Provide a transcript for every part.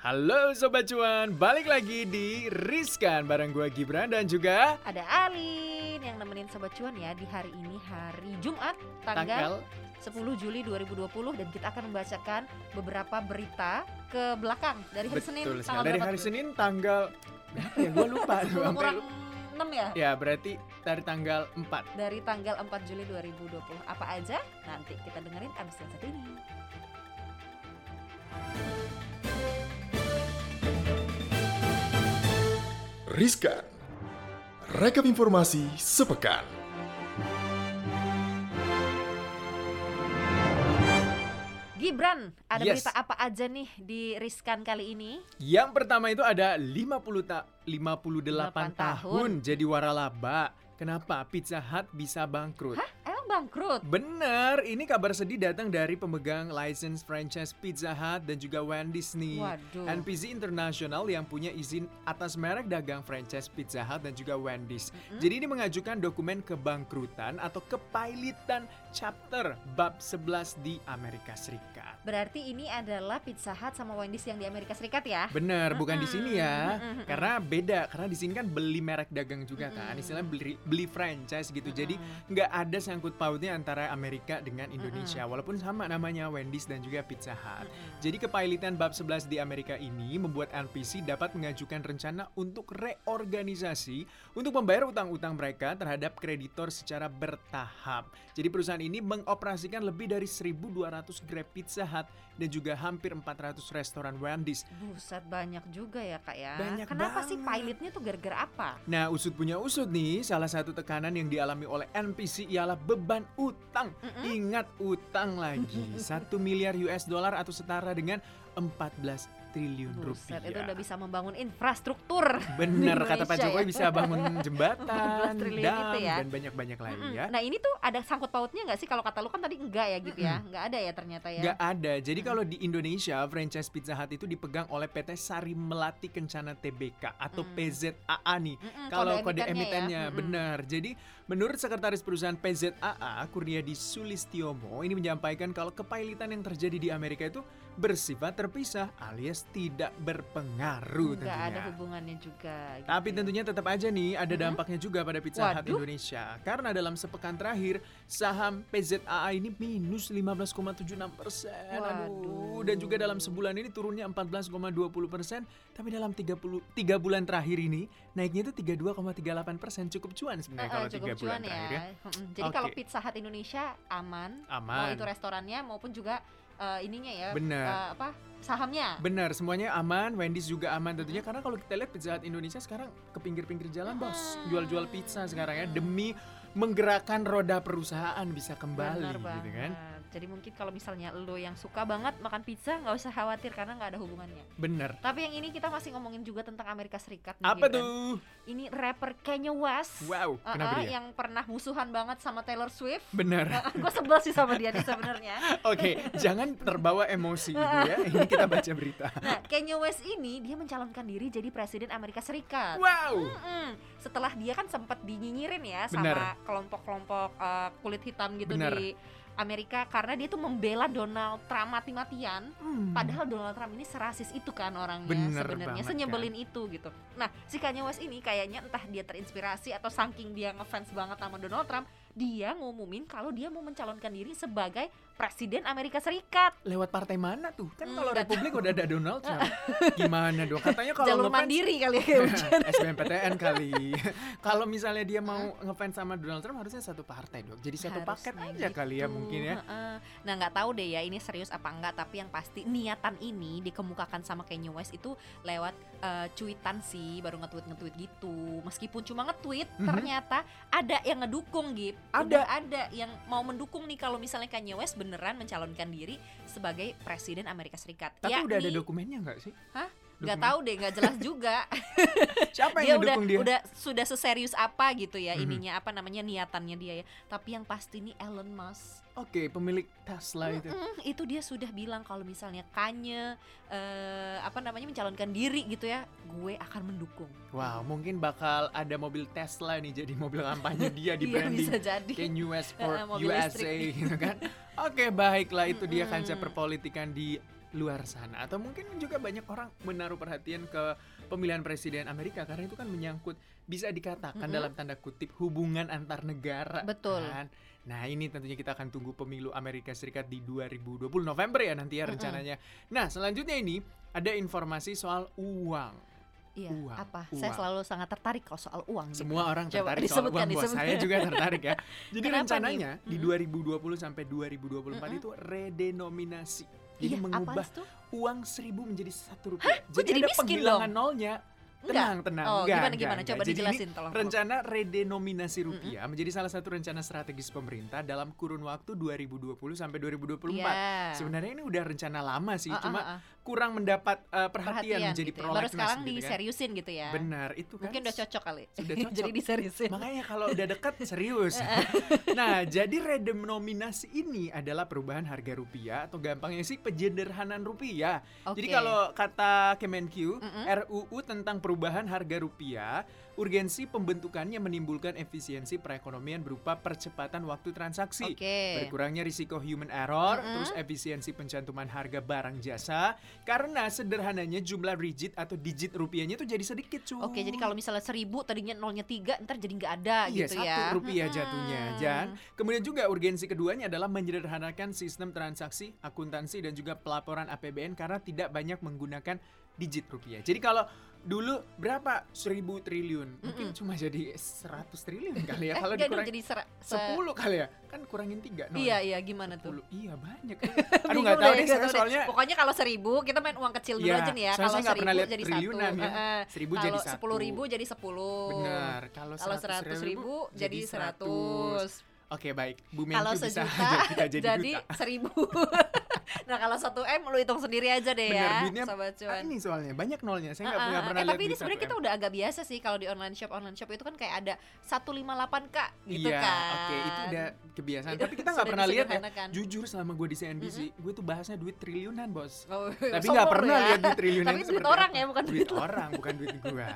Halo Sobat Cuan, balik lagi di Riskan bareng gue Gibran dan juga Ada Alin yang nemenin Sobat Cuan ya di hari ini hari Jumat tanggal, tanggal 10 Juli 2020 dan kita akan membacakan beberapa berita ke belakang dari hari Senin betul sekali. tanggal Dari berapa hari tuh? Senin tanggal berapa ya gue lupa 10 Sampai kurang lupa. 6 ya Ya berarti dari tanggal 4 dari tanggal 4 Juli 2020 apa aja nanti kita dengerin abis yang satu ini Riskan Rekap informasi sepekan Gibran ada Yes. berita apa aja nih di Riskan kali ini Yang pertama itu ada 50 ta 58 tahun, 58 tahun. jadi waralaba Kenapa Pizza Hut bisa bangkrut? emang bangkrut Bener, ini kabar sedih datang dari pemegang license franchise Pizza Hut dan juga Wendy's nih waduh NPC International yang punya izin atas merek dagang franchise Pizza Hut dan juga Wendy's. Jadi ini mengajukan dokumen kebangkrutan atau kepailitan chapter bab 11 di Amerika Serikat. berarti ini adalah Pizza Hut sama Wendy's yang di Amerika Serikat ya Bener, bukan di sini ya. Mm-mm, mm-mm. Karena beda, karena di sini kan beli merek dagang juga kan, Mm-mm. istilahnya beli, beli franchise gitu. Jadi Mm-mm. nggak ada sangkut pautnya antara Amerika dengan Indonesia, walaupun sama namanya Wendy's dan juga Pizza Hut. Mm-mm. Jadi kepailitan bab 11 di Amerika ini membuat NPC dapat mengajukan rencana untuk reorganisasi untuk membayar utang-utang mereka terhadap kreditor secara bertahap. Jadi perusahaan ini mengoperasikan lebih dari 1.200 Grab Pizza Hut dan juga hampir 400 restoran Wendy's. Buset banyak juga ya kak ya. Banyak Kenapa sih banget. pilotnya tuh gara-gara apa? Nah, usut punya usut nih, salah satu tekanan yang dialami oleh NPC ialah beban utang. Mm-mm. Ingat utang lagi, 1 miliar US dollar atau setara dengan 14 triliun rupiah. Buset itu udah bisa membangun infrastruktur. Bener Di kata Pak Indonesia Jokowi ya. bisa bangun jembatan, 14 triliun dam, itu ya. dan banyak-banyak lain Mm-mm. ya. Nah ini tuh ada sangkut pautnya nggak sih? Kalau kata lu kan tadi enggak ya gitu ya? Enggak ada ya ternyata ya. Nggak ada. Jadi kalau di Indonesia, franchise Pizza Hut itu dipegang oleh PT Sari Melati Kencana Tbk atau Mm. PZAA nih. Mm-mm, Kalau kode ya. emitennya, Mm-mm. benar. Jadi menurut Sekretaris Perusahaan PZAA, Kurniadi Sulistiomo, ini menyampaikan kalau kepailitan yang terjadi di Amerika itu bersifat terpisah alias tidak berpengaruh Nggak ada tentunya. hubungannya juga. gitu Tapi ya. tentunya tetap aja nih ada Mhm. dampaknya juga pada Pizza Hut Waduh. Indonesia. Karena dalam sepekan terakhir saham PZAA ini minus 15,76 persen. Aduh. Waduh. Dan juga dalam sebulan ini turunnya 14,20 persen. Tapi dalam 30, 3 bulan terakhir ini naiknya itu 32,38 persen. Cukup cuan Eh, eh, sebenarnya kalau 3 cukup bulan cuan terakhir ya. Mm-mm. Jadi Oke. kalau Pizza Hut Indonesia aman, mau Aman. itu restorannya maupun juga eh, ininya ya Bener. eh, apa sahamnya. Benar, semuanya aman, Wendy's juga aman tentunya karena kalau kita lihat Pizza Hut Indonesia sekarang ke pinggir-pinggir jalan, Hmm. Bos. Jual-jual pizza sekarang ya demi menggerakkan roda perusahaan bisa kembali Benar gitu kan. banget. Jadi mungkin kalau misalnya lo yang suka banget makan pizza nggak usah khawatir karena nggak ada hubungannya. Bener. Tapi yang ini kita masih ngomongin juga tentang Amerika Serikat. nih, Apa Gibran. tuh? Ini rapper Kanye West. Wow, Uh-uh, kenapa dia? yang pernah musuhan banget sama Taylor Swift. Bener. Gue sebel sih sama dia nih sebenarnya. Oke, jangan terbawa emosi ibu ya. Ini kita baca berita. Nah, Kanye West ini dia mencalonkan diri jadi presiden Amerika Serikat. Wow. Mm-mm. Setelah dia kan sempat dinyinyirin ya Benar. sama kelompok-kelompok uh, kulit hitam gitu Benar. di Amerika karena dia tuh membela Donald Trump mati-matian. Hmm. Padahal Donald Trump ini serasis itu kan orangnya Bener sebenarnya banget kan? senyebelin itu gitu. Nah, si Kanye West ini kayaknya entah dia terinspirasi atau saking dia ngefans banget sama Donald Trump, dia ngumumin kalau dia mau mencalonkan diri sebagai presiden Amerika Serikat. lewat partai mana tuh? Kan Hmm, kalau nggak Republik udah ada Donald Trump. Gimana dong? Katanya kalau Jalur ngefans- mandiri kali ya kayak ujian. SBMPTN kali. kalau misalnya dia mau ngefans sama Donald Trump harusnya satu partai dong. Jadi satu paket Harusnya aja kali ya gitu, mungkin ya. heeh. Nah nggak tahu deh ya ini serius apa enggak Tapi yang pasti niatan ini dikemukakan sama Kanye West itu lewat eh, cuitan sih Baru nge-tweet-nge-tweet gitu Meskipun cuma nge-tweet Mhm. ternyata ada yang ngedukung Gib Ada. Udah ada yang mau mendukung nih Kalau misalnya Kanye West beneran mencalonkan diri sebagai presiden Amerika Serikat Tapi Yakni- udah ada dokumennya nggak sih? Hah? Dokumen. Nggak tahu deh, nggak jelas juga. Siapa dia yang udah ngedukung dia? udah sudah seserius apa gitu ya Mhm. ininya apa namanya niatannya dia ya. Tapi yang pasti nih Elon Musk Oke, pemilik Tesla itu. Mm, itu dia sudah bilang kalau misalnya Kanye eh, apa namanya mencalonkan diri gitu ya, gue akan mendukung. Wow, mungkin bakal ada mobil Tesla nih jadi mobil kampanye dia di Iya branding bisa jadi. Can US for Eh, mobil USA listrik. gitu kan. Oke, baiklah itu dia Mm-mm. kancah perpolitikan di luar sana atau mungkin juga banyak orang menaruh perhatian ke pemilihan presiden Amerika karena itu kan menyangkut bisa dikatakan Mm-mm. dalam tanda kutip hubungan antar negara Betul. kan. Nah, ini tentunya kita akan tunggu pemilu Amerika Serikat di 2020 November ya nanti ya Mm-mm. rencananya. Nah, selanjutnya ini ada informasi soal uang. Iya, Uang, apa? Saya uang. selalu sangat tertarik kalau soal uang. gitu. Semua orang Coba tertarik soal disebutkan, uang bos. Saya disebutkan. juga tertarik ya. Jadi Kenapa nih? rencananya di Mm-mm. 2020 sampai 2024 Mm-mm. itu redenominasi. Jadi iya, mengubah apaan tuh? uang seribu menjadi satu rupiah. Kok jadi ada miskin penghilangan dong? nolnya. Enggak. Tenang, tenang. Oh, Enggak, gimana enggak, gimana? enggak. Coba Jadi ini dijelasin tolong. Prof. Rencana redenominasi rupiah menjadi salah satu rencana strategis pemerintah dalam kurun waktu 2020 sampai 2024. Iya. Sebenarnya ini udah rencana lama sih, Ah, ah, cuma ah, ah. kurang mendapat eh, perhatian, menjadi gitu ya. Baru prolegnas sekarang gitu kan. diseriusin gitu ya. Benar, itu kan. Mungkin udah cocok kali. Sudah Jadi cocok. diseriusin. Makanya kalau udah dekat serius. nah, jadi redenominasi ini adalah perubahan harga rupiah atau gampangnya sih penyederhanaan rupiah. Jadi Oke. kalau kata Kemenq, Mm-mm. RUU tentang perubahan harga rupiah, urgensi pembentukannya menimbulkan efisiensi perekonomian berupa percepatan waktu transaksi. Oke. Berkurangnya risiko human error, Mm-mm. terus efisiensi pencantuman harga barang jasa, karena sederhananya jumlah rigid atau digit rupiahnya itu jadi sedikit cuy. Oke, jadi kalau misalnya seribu tadinya nolnya tiga, ntar jadi nggak ada Iya, gitu satu ya. rupiah Mm-mm. jatuhnya, Jan. Kemudian juga urgensi keduanya adalah menyederhanakan sistem transaksi, akuntansi dan juga pelaporan APBN karena tidak banyak menggunakan digit rupiah. Jadi kalau dulu berapa? 1000 triliun. Mungkin Mm-mm. cuma jadi 100 triliun kali Eh, ya kalau nggak dong, dikurangin jadi sera- se- 10 kali ya. Kan kurangin 3 Iya, iya, gimana tuh? Iya, banyak. Aduh Bingung nggak tahu deh, deh, nggak saya tahu deh. soalnya Pokoknya kalau seribu kita main uang kecil dulu Iya, aja nih ya. soalnya Kalau saya nggak seribu pernah lihat jadi triliunan satu. ya. eh, eh. 1000 jadi Kalau 1. sepuluh ribu jadi sepuluh. Benar. Kalau Kalau seratus ribu jadi seratus. Oke, baik. Bu Kalau Menkyu bisa sejuta ajak kita jadi, jadi duta. seribu. nah kalau satu m lu hitung sendiri aja deh Benar, ya, duitnya- sobat Ah, cuan. ini soalnya banyak nolnya. Saya nggak nggak Heeh, heeh. pernah eh, lihat kan. tapi ini duit satu sebenarnya M. kita udah agak biasa sih kalau di online shop online shop itu kan kayak ada 158 kak gitu Iya, kan. oke, itu udah kebiasaan. Itu Tapi kita nggak sudah pernah lihat ya. disederhanakan. Jujur selama gue di CNBC, gue tuh bahasnya duit triliunan, Bos. Oh, Tapi sombong nggak lu pernah ya. lihat duit triliunan. Tapi itu duit seperti orang apa. ya, bukan duit duit lu. orang, bukan duit gua.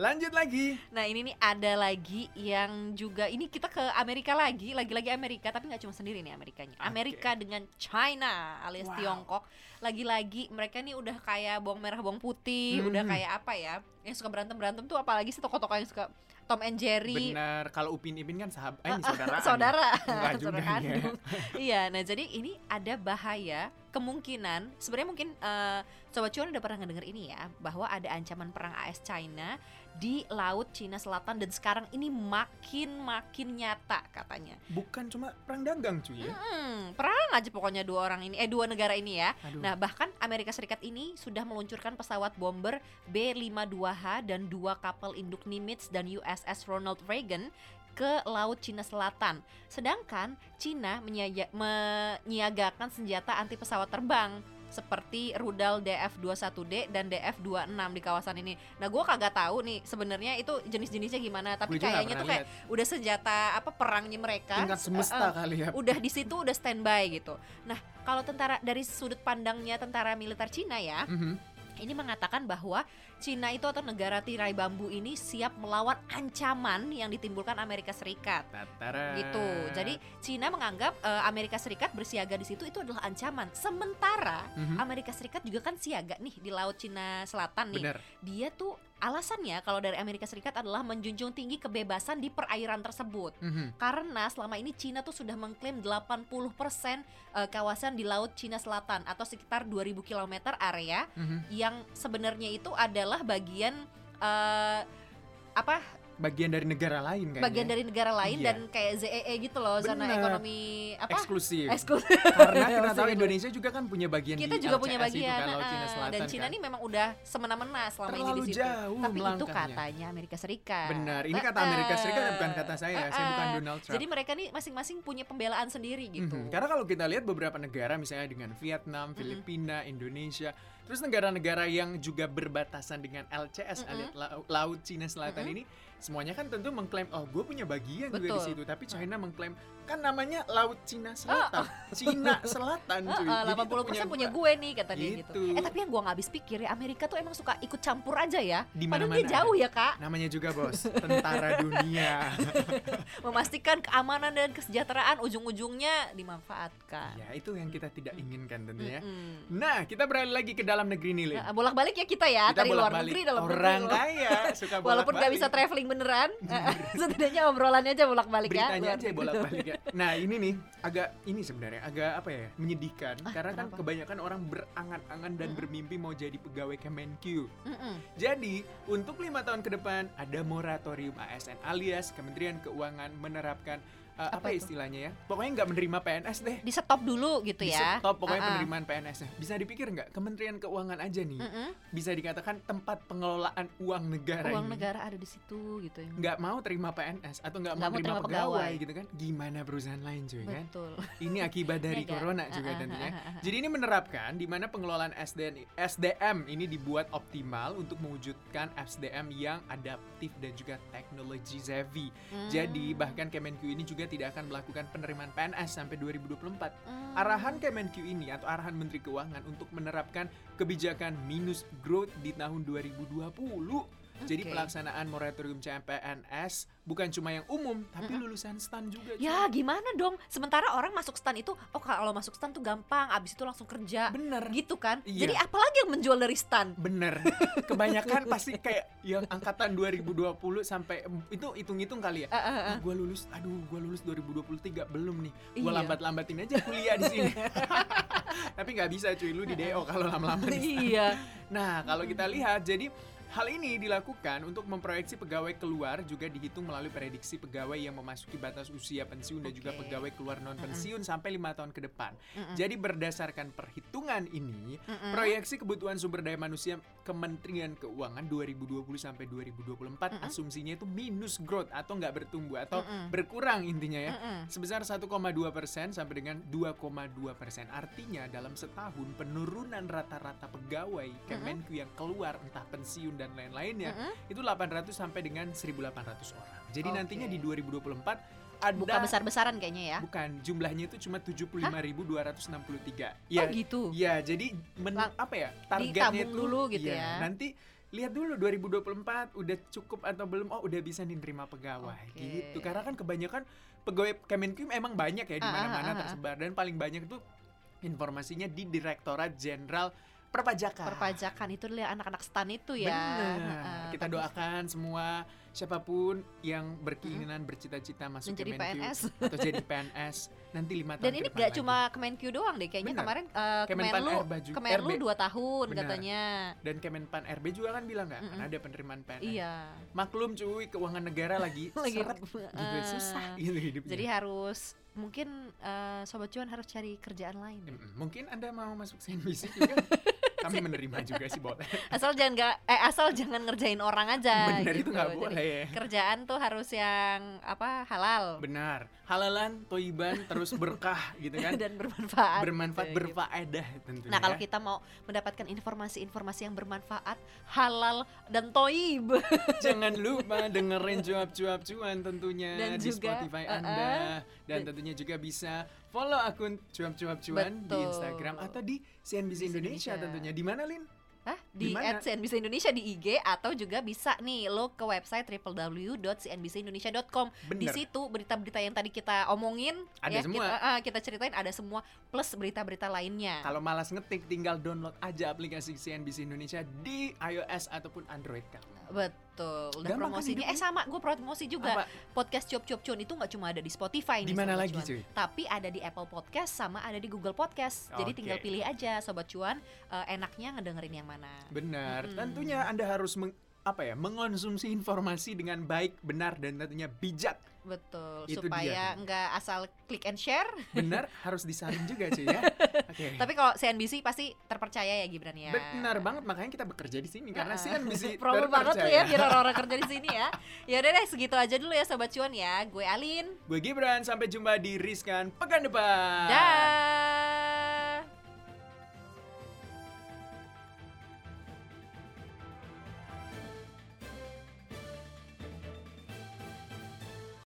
Lanjut lagi. Nah ini nih ada lagi yang juga ini kita ke Amerika lagi, lagi-lagi Amerika tapi nggak cuma sendiri nih Amerikanya. Oke. Amerika dengan China alias Wow. Tiongkok, lagi-lagi mereka nih udah kayak bawang merah bawang putih, udah Mhm. kayak apa ya? Yang suka berantem berantem tuh apalagi sih toko-toko yang suka Tom and Jerry. Benar, kalau Upin Ipin kan sahabat, eh, ini saudara. Ah, saudara, Enggak juga saudara ya. kandung. iya, nah jadi ini ada bahaya kemungkinan sebenarnya mungkin eh, sobat cuan udah pernah ngedenger ini ya bahwa ada ancaman perang AS China di laut Cina Selatan dan sekarang ini makin makin nyata katanya. Bukan cuma perang dagang cuy ya. Hmm, perang aja pokoknya dua orang ini eh dua negara ini ya. Aduh. Nah, bahkan Amerika Serikat ini sudah meluncurkan pesawat bomber B-52H dan dua kapal induk Nimitz dan USS Ronald Reagan ke Laut Cina Selatan. Sedangkan Cina menyiaga- menyiagakan senjata anti pesawat terbang seperti rudal DF-21D dan DF-26 di kawasan ini. Nah, gua kagak tahu nih sebenarnya itu jenis-jenisnya gimana, Gua tapi juga nggak kayaknya pernah tuh kayak udah senjata apa perangnya mereka. tingkat semesta Eh, eh, kali ya. udah di situ udah standby gitu. Nah, kalau tentara dari sudut pandangnya tentara militer Cina ya, Mhm. ini mengatakan bahwa Cina itu atau negara tirai bambu ini siap melawan ancaman yang ditimbulkan Amerika Serikat Tatara. gitu. Jadi Cina menganggap eh, Amerika Serikat bersiaga di situ itu adalah ancaman. Sementara Mhm. Amerika Serikat juga kan siaga nih di laut Cina Selatan nih. benar. Dia tuh alasannya kalau dari Amerika Serikat adalah menjunjung tinggi kebebasan di perairan tersebut Mhm. karena selama ini Cina tuh sudah mengklaim 80% eh, kawasan di laut Cina Selatan atau sekitar 2000 km area Mhm. yang sebenarnya itu adalah bagian eh, apa Bagian dari negara lain kayaknya. bagian dari negara lain Iya. dan kayak ZEE gitu loh zona Bener. ekonomi apa eksklusif. eksklusif Karena kita Maksudnya tahu gitu. Indonesia juga kan punya bagian kita di juga punya LCS itu bagian kan, Laut eh, Cina Selatan dan Cina kan. ini memang udah semena-mena selama ini terlalu di situ jauh tapi itu melangkahnya. katanya Amerika Serikat Benar, ini kata Amerika Serikat bukan kata saya, saya bukan Eh-eh. Donald Trump. eh, jadi mereka nih masing-masing punya pembelaan sendiri gitu Mhm, Mhm. Karena kalau kita lihat beberapa negara misalnya dengan Vietnam, Filipina, Indonesia, Terus negara-negara yang juga berbatasan dengan LCS Mm-mm. alias Lau- Laut Cina Selatan ini Mm-mm. semuanya kan tentu mengklaim oh gue punya bagian juga di Mhm. Betul. Ah. situ tapi China mengklaim kan namanya Laut Cina Selatan Cina Selatan cuy Heeh, Jadi itu 80% punya gue nih kata dia gitu. Gitu. Eh tapi yang gue nggak habis pikir ya Amerika tuh emang suka ikut campur aja ya. Di Padahal mana-mana dia jauh ya kak. namanya juga bos tentara dunia Memastikan keamanan dan kesejahteraan ujung-ujungnya dimanfaatkan. ya itu yang kita tidak inginkan tentunya Mm-mm. nah kita beralih lagi ke dalam negeri nih Lin Nah, bolak-balik ya kita ya, kita dari luar bolak-balik. negeri dalam orang kan negeri. loh. kaya suka bolak Walaupun nggak bisa traveling beneran, eh, setidaknya obrolannya aja bolak-balik ya. beritanya luar aja negeri. bolak-balik ya. Nah, ini nih agak ini sebenarnya agak apa ya? menyedihkan Ah, karena kan kenapa? kebanyakan orang berangan-angan dan Mm-mm. bermimpi mau jadi pegawai Kemenq. Mm-mm. Jadi, untuk lima tahun ke depan ada moratorium ASN alias Kementerian Keuangan menerapkan eh, Apa apa, itu? istilahnya ya? Pokoknya nggak menerima PNS deh. Di stop dulu gitu Di ya. stop pokoknya Ah-ah. penerimaan PNS-nya. Bisa dipikir nggak Kementerian Keuangan aja nih Mm-mm. bisa dikatakan tempat pengelolaan uang negara Uang ini negara ada di situ gitu ya. nggak mau terima PNS atau nggak mau Nggak mau terima terima pegawai, pegawai. gitu kan gimana perusahaan lain cuy kan Betul. ini akibat dari Iya kan? corona juga Ah, ah, tentunya ah, ah, ah. jadi ini menerapkan di mana pengelolaan SDN, SDM ini dibuat optimal untuk mewujudkan SDM yang adaptif dan juga teknologi savvy. Hmm. Jadi bahkan Kemenq ini juga tidak akan melakukan penerimaan PNS sampai 2024 Hmm. Arahan Kemenq ini atau arahan Menteri Keuangan untuk menerapkan kebijakan minus growth di tahun 2020. Jadi Oke. pelaksanaan moratorium CPNS bukan cuma yang umum, tapi Mm-mm. lulusan STAN juga. cuy. Ya gimana dong? Sementara orang masuk stan itu, oh kalau masuk stan tuh gampang, abis itu langsung kerja, bener, gitu kan? Iya. Jadi apalagi yang menjual dari stan? bener. Kebanyakan pasti kayak yang angkatan 2020 sampai itu hitung-hitung kali ya. Ah, ah, ah. Ah, gua lulus, aduh, gua lulus 2023 belum nih. Gua Iya. lambat-lambatin aja kuliah di sini. tapi nggak bisa cuy, lu di DO kalau lama-lama di iya. Nah, kalau kita lihat, jadi hal ini dilakukan untuk memproyeksi pegawai keluar juga dihitung melalui prediksi pegawai yang memasuki batas usia pensiun dan juga Oke. pegawai keluar non pensiun sampai lima tahun ke depan. Mm-mm. Jadi berdasarkan perhitungan ini, Mm-mm. proyeksi kebutuhan sumber daya manusia Kementerian Keuangan 2020 sampai 2024 Mm-mm. asumsinya itu minus growth atau nggak bertumbuh atau Mm-mm. berkurang intinya ya Mm-mm. sebesar 1,2 persen sampai dengan 2,2 persen. Artinya dalam setahun penurunan rata-rata pegawai Mm-hmm. Kemenku yang keluar entah pensiun dan lain-lainnya Mm-mm. itu 800 sampai dengan 1.800 orang. Jadi Mm-hmm. Oke. nantinya di 2024 ada Buka besar-besaran kayaknya ya? bukan jumlahnya itu cuma 75.263. Ya, Oh gitu. ya jadi men- Lang- apa ya targetnya ditabung itu dulu gitu iya, ya. Nanti lihat dulu 2024 udah cukup atau belum oh udah bisa nih nerima pegawai Oke. gitu karena kan kebanyakan pegawai Kemenkum emang banyak ya di Ah, ah, mana-mana ah, ah. tersebar dan paling banyak tuh informasinya di Direktorat Jenderal Perpajakan. Perpajakan itu lihat anak-anak stan itu ya. Bener. Heeh, Kita tapi doakan semua siapapun yang berkeinginan bercita-cita masuk Ah. menjadi Kemenku PNS. atau jadi PNS nanti lima tahun Dan ke ini depan gak lagi. cuma Kemenq doang deh kayaknya Bener. kemarin eh, Kemenlu Kemenpan RB juga- Kemenlu RB. 2 tahun Benar. katanya. dan Kemenpan RB juga kan bilang nggak kan Mm-mm. ada penerimaan PNS. Iya. Maklum cuy keuangan negara lagi, Lagi seret gitu eh, susah gitu hidupnya. Jadi harus mungkin eh, sobat cuan harus cari kerjaan lain. Mm-mm. mungkin anda mau masuk sandwich juga kami menerima juga sih boleh Asal jangan nggak eh asal jangan ngerjain orang aja benar itu gitu. nggak Jadi boleh kerjaan tuh harus yang apa halal benar halalan toiban terus berkah gitu kan dan bermanfaat. bermanfaat gitu. berfaedah tentunya Nah, kalau ya. kita mau mendapatkan informasi-informasi yang bermanfaat, halal dan toib. jangan lupa dengerin cuap-cuap cuan tentunya Dan di juga, Spotify uh-uh. anda dan Dan- tentunya juga bisa follow akun cuap-cuap cuan di Betul. Instagram atau di CNBC Di Indonesia Indonesia. tentunya di mana Lin Hah? Di Dimana? at CNBC Indonesia di IG atau juga bisa nih lo ke website www.cnbcindonesia.com. Di benar situ berita-berita yang tadi kita omongin Ada ya, semua. Kita, ah, kita ceritain ada semua plus berita-berita lainnya. Kalau malas ngetik, tinggal download aja aplikasi CNBC Indonesia di iOS ataupun Android kamu. Betul. Gampang Dan kan promosinya hidupnya? eh sama gue promosi juga. Apa? Podcast cuap-cuap cuan itu nggak cuma ada di Spotify Di nih, mana Sobat lagi Cuan. cuy? tapi ada di Apple Podcast sama ada di Google Podcast. Jadi Oke. tinggal pilih aja sobat cuan eh, enaknya ngedengerin yang mana. Benar. Mm-mm. Tentunya Anda harus meng- apa ya mengonsumsi informasi dengan baik, benar dan tentunya bijak. Betul, Itu dia supaya tuh. nggak asal klik and share. Benar harus disaring juga cuy ya. Oke. Tapi kalau CNBC pasti terpercaya ya Gibran ya. Benar banget makanya kita bekerja di sini karena Heeh. CNBC Promo banget tuh ya terpercaya. biar orang-orang kan kerja di sini ya. Ya udah deh segitu aja dulu ya sobat cuan ya. Gue Alin. Gue Gibran, sampai jumpa di Riskan kan, pekan depan. Dah.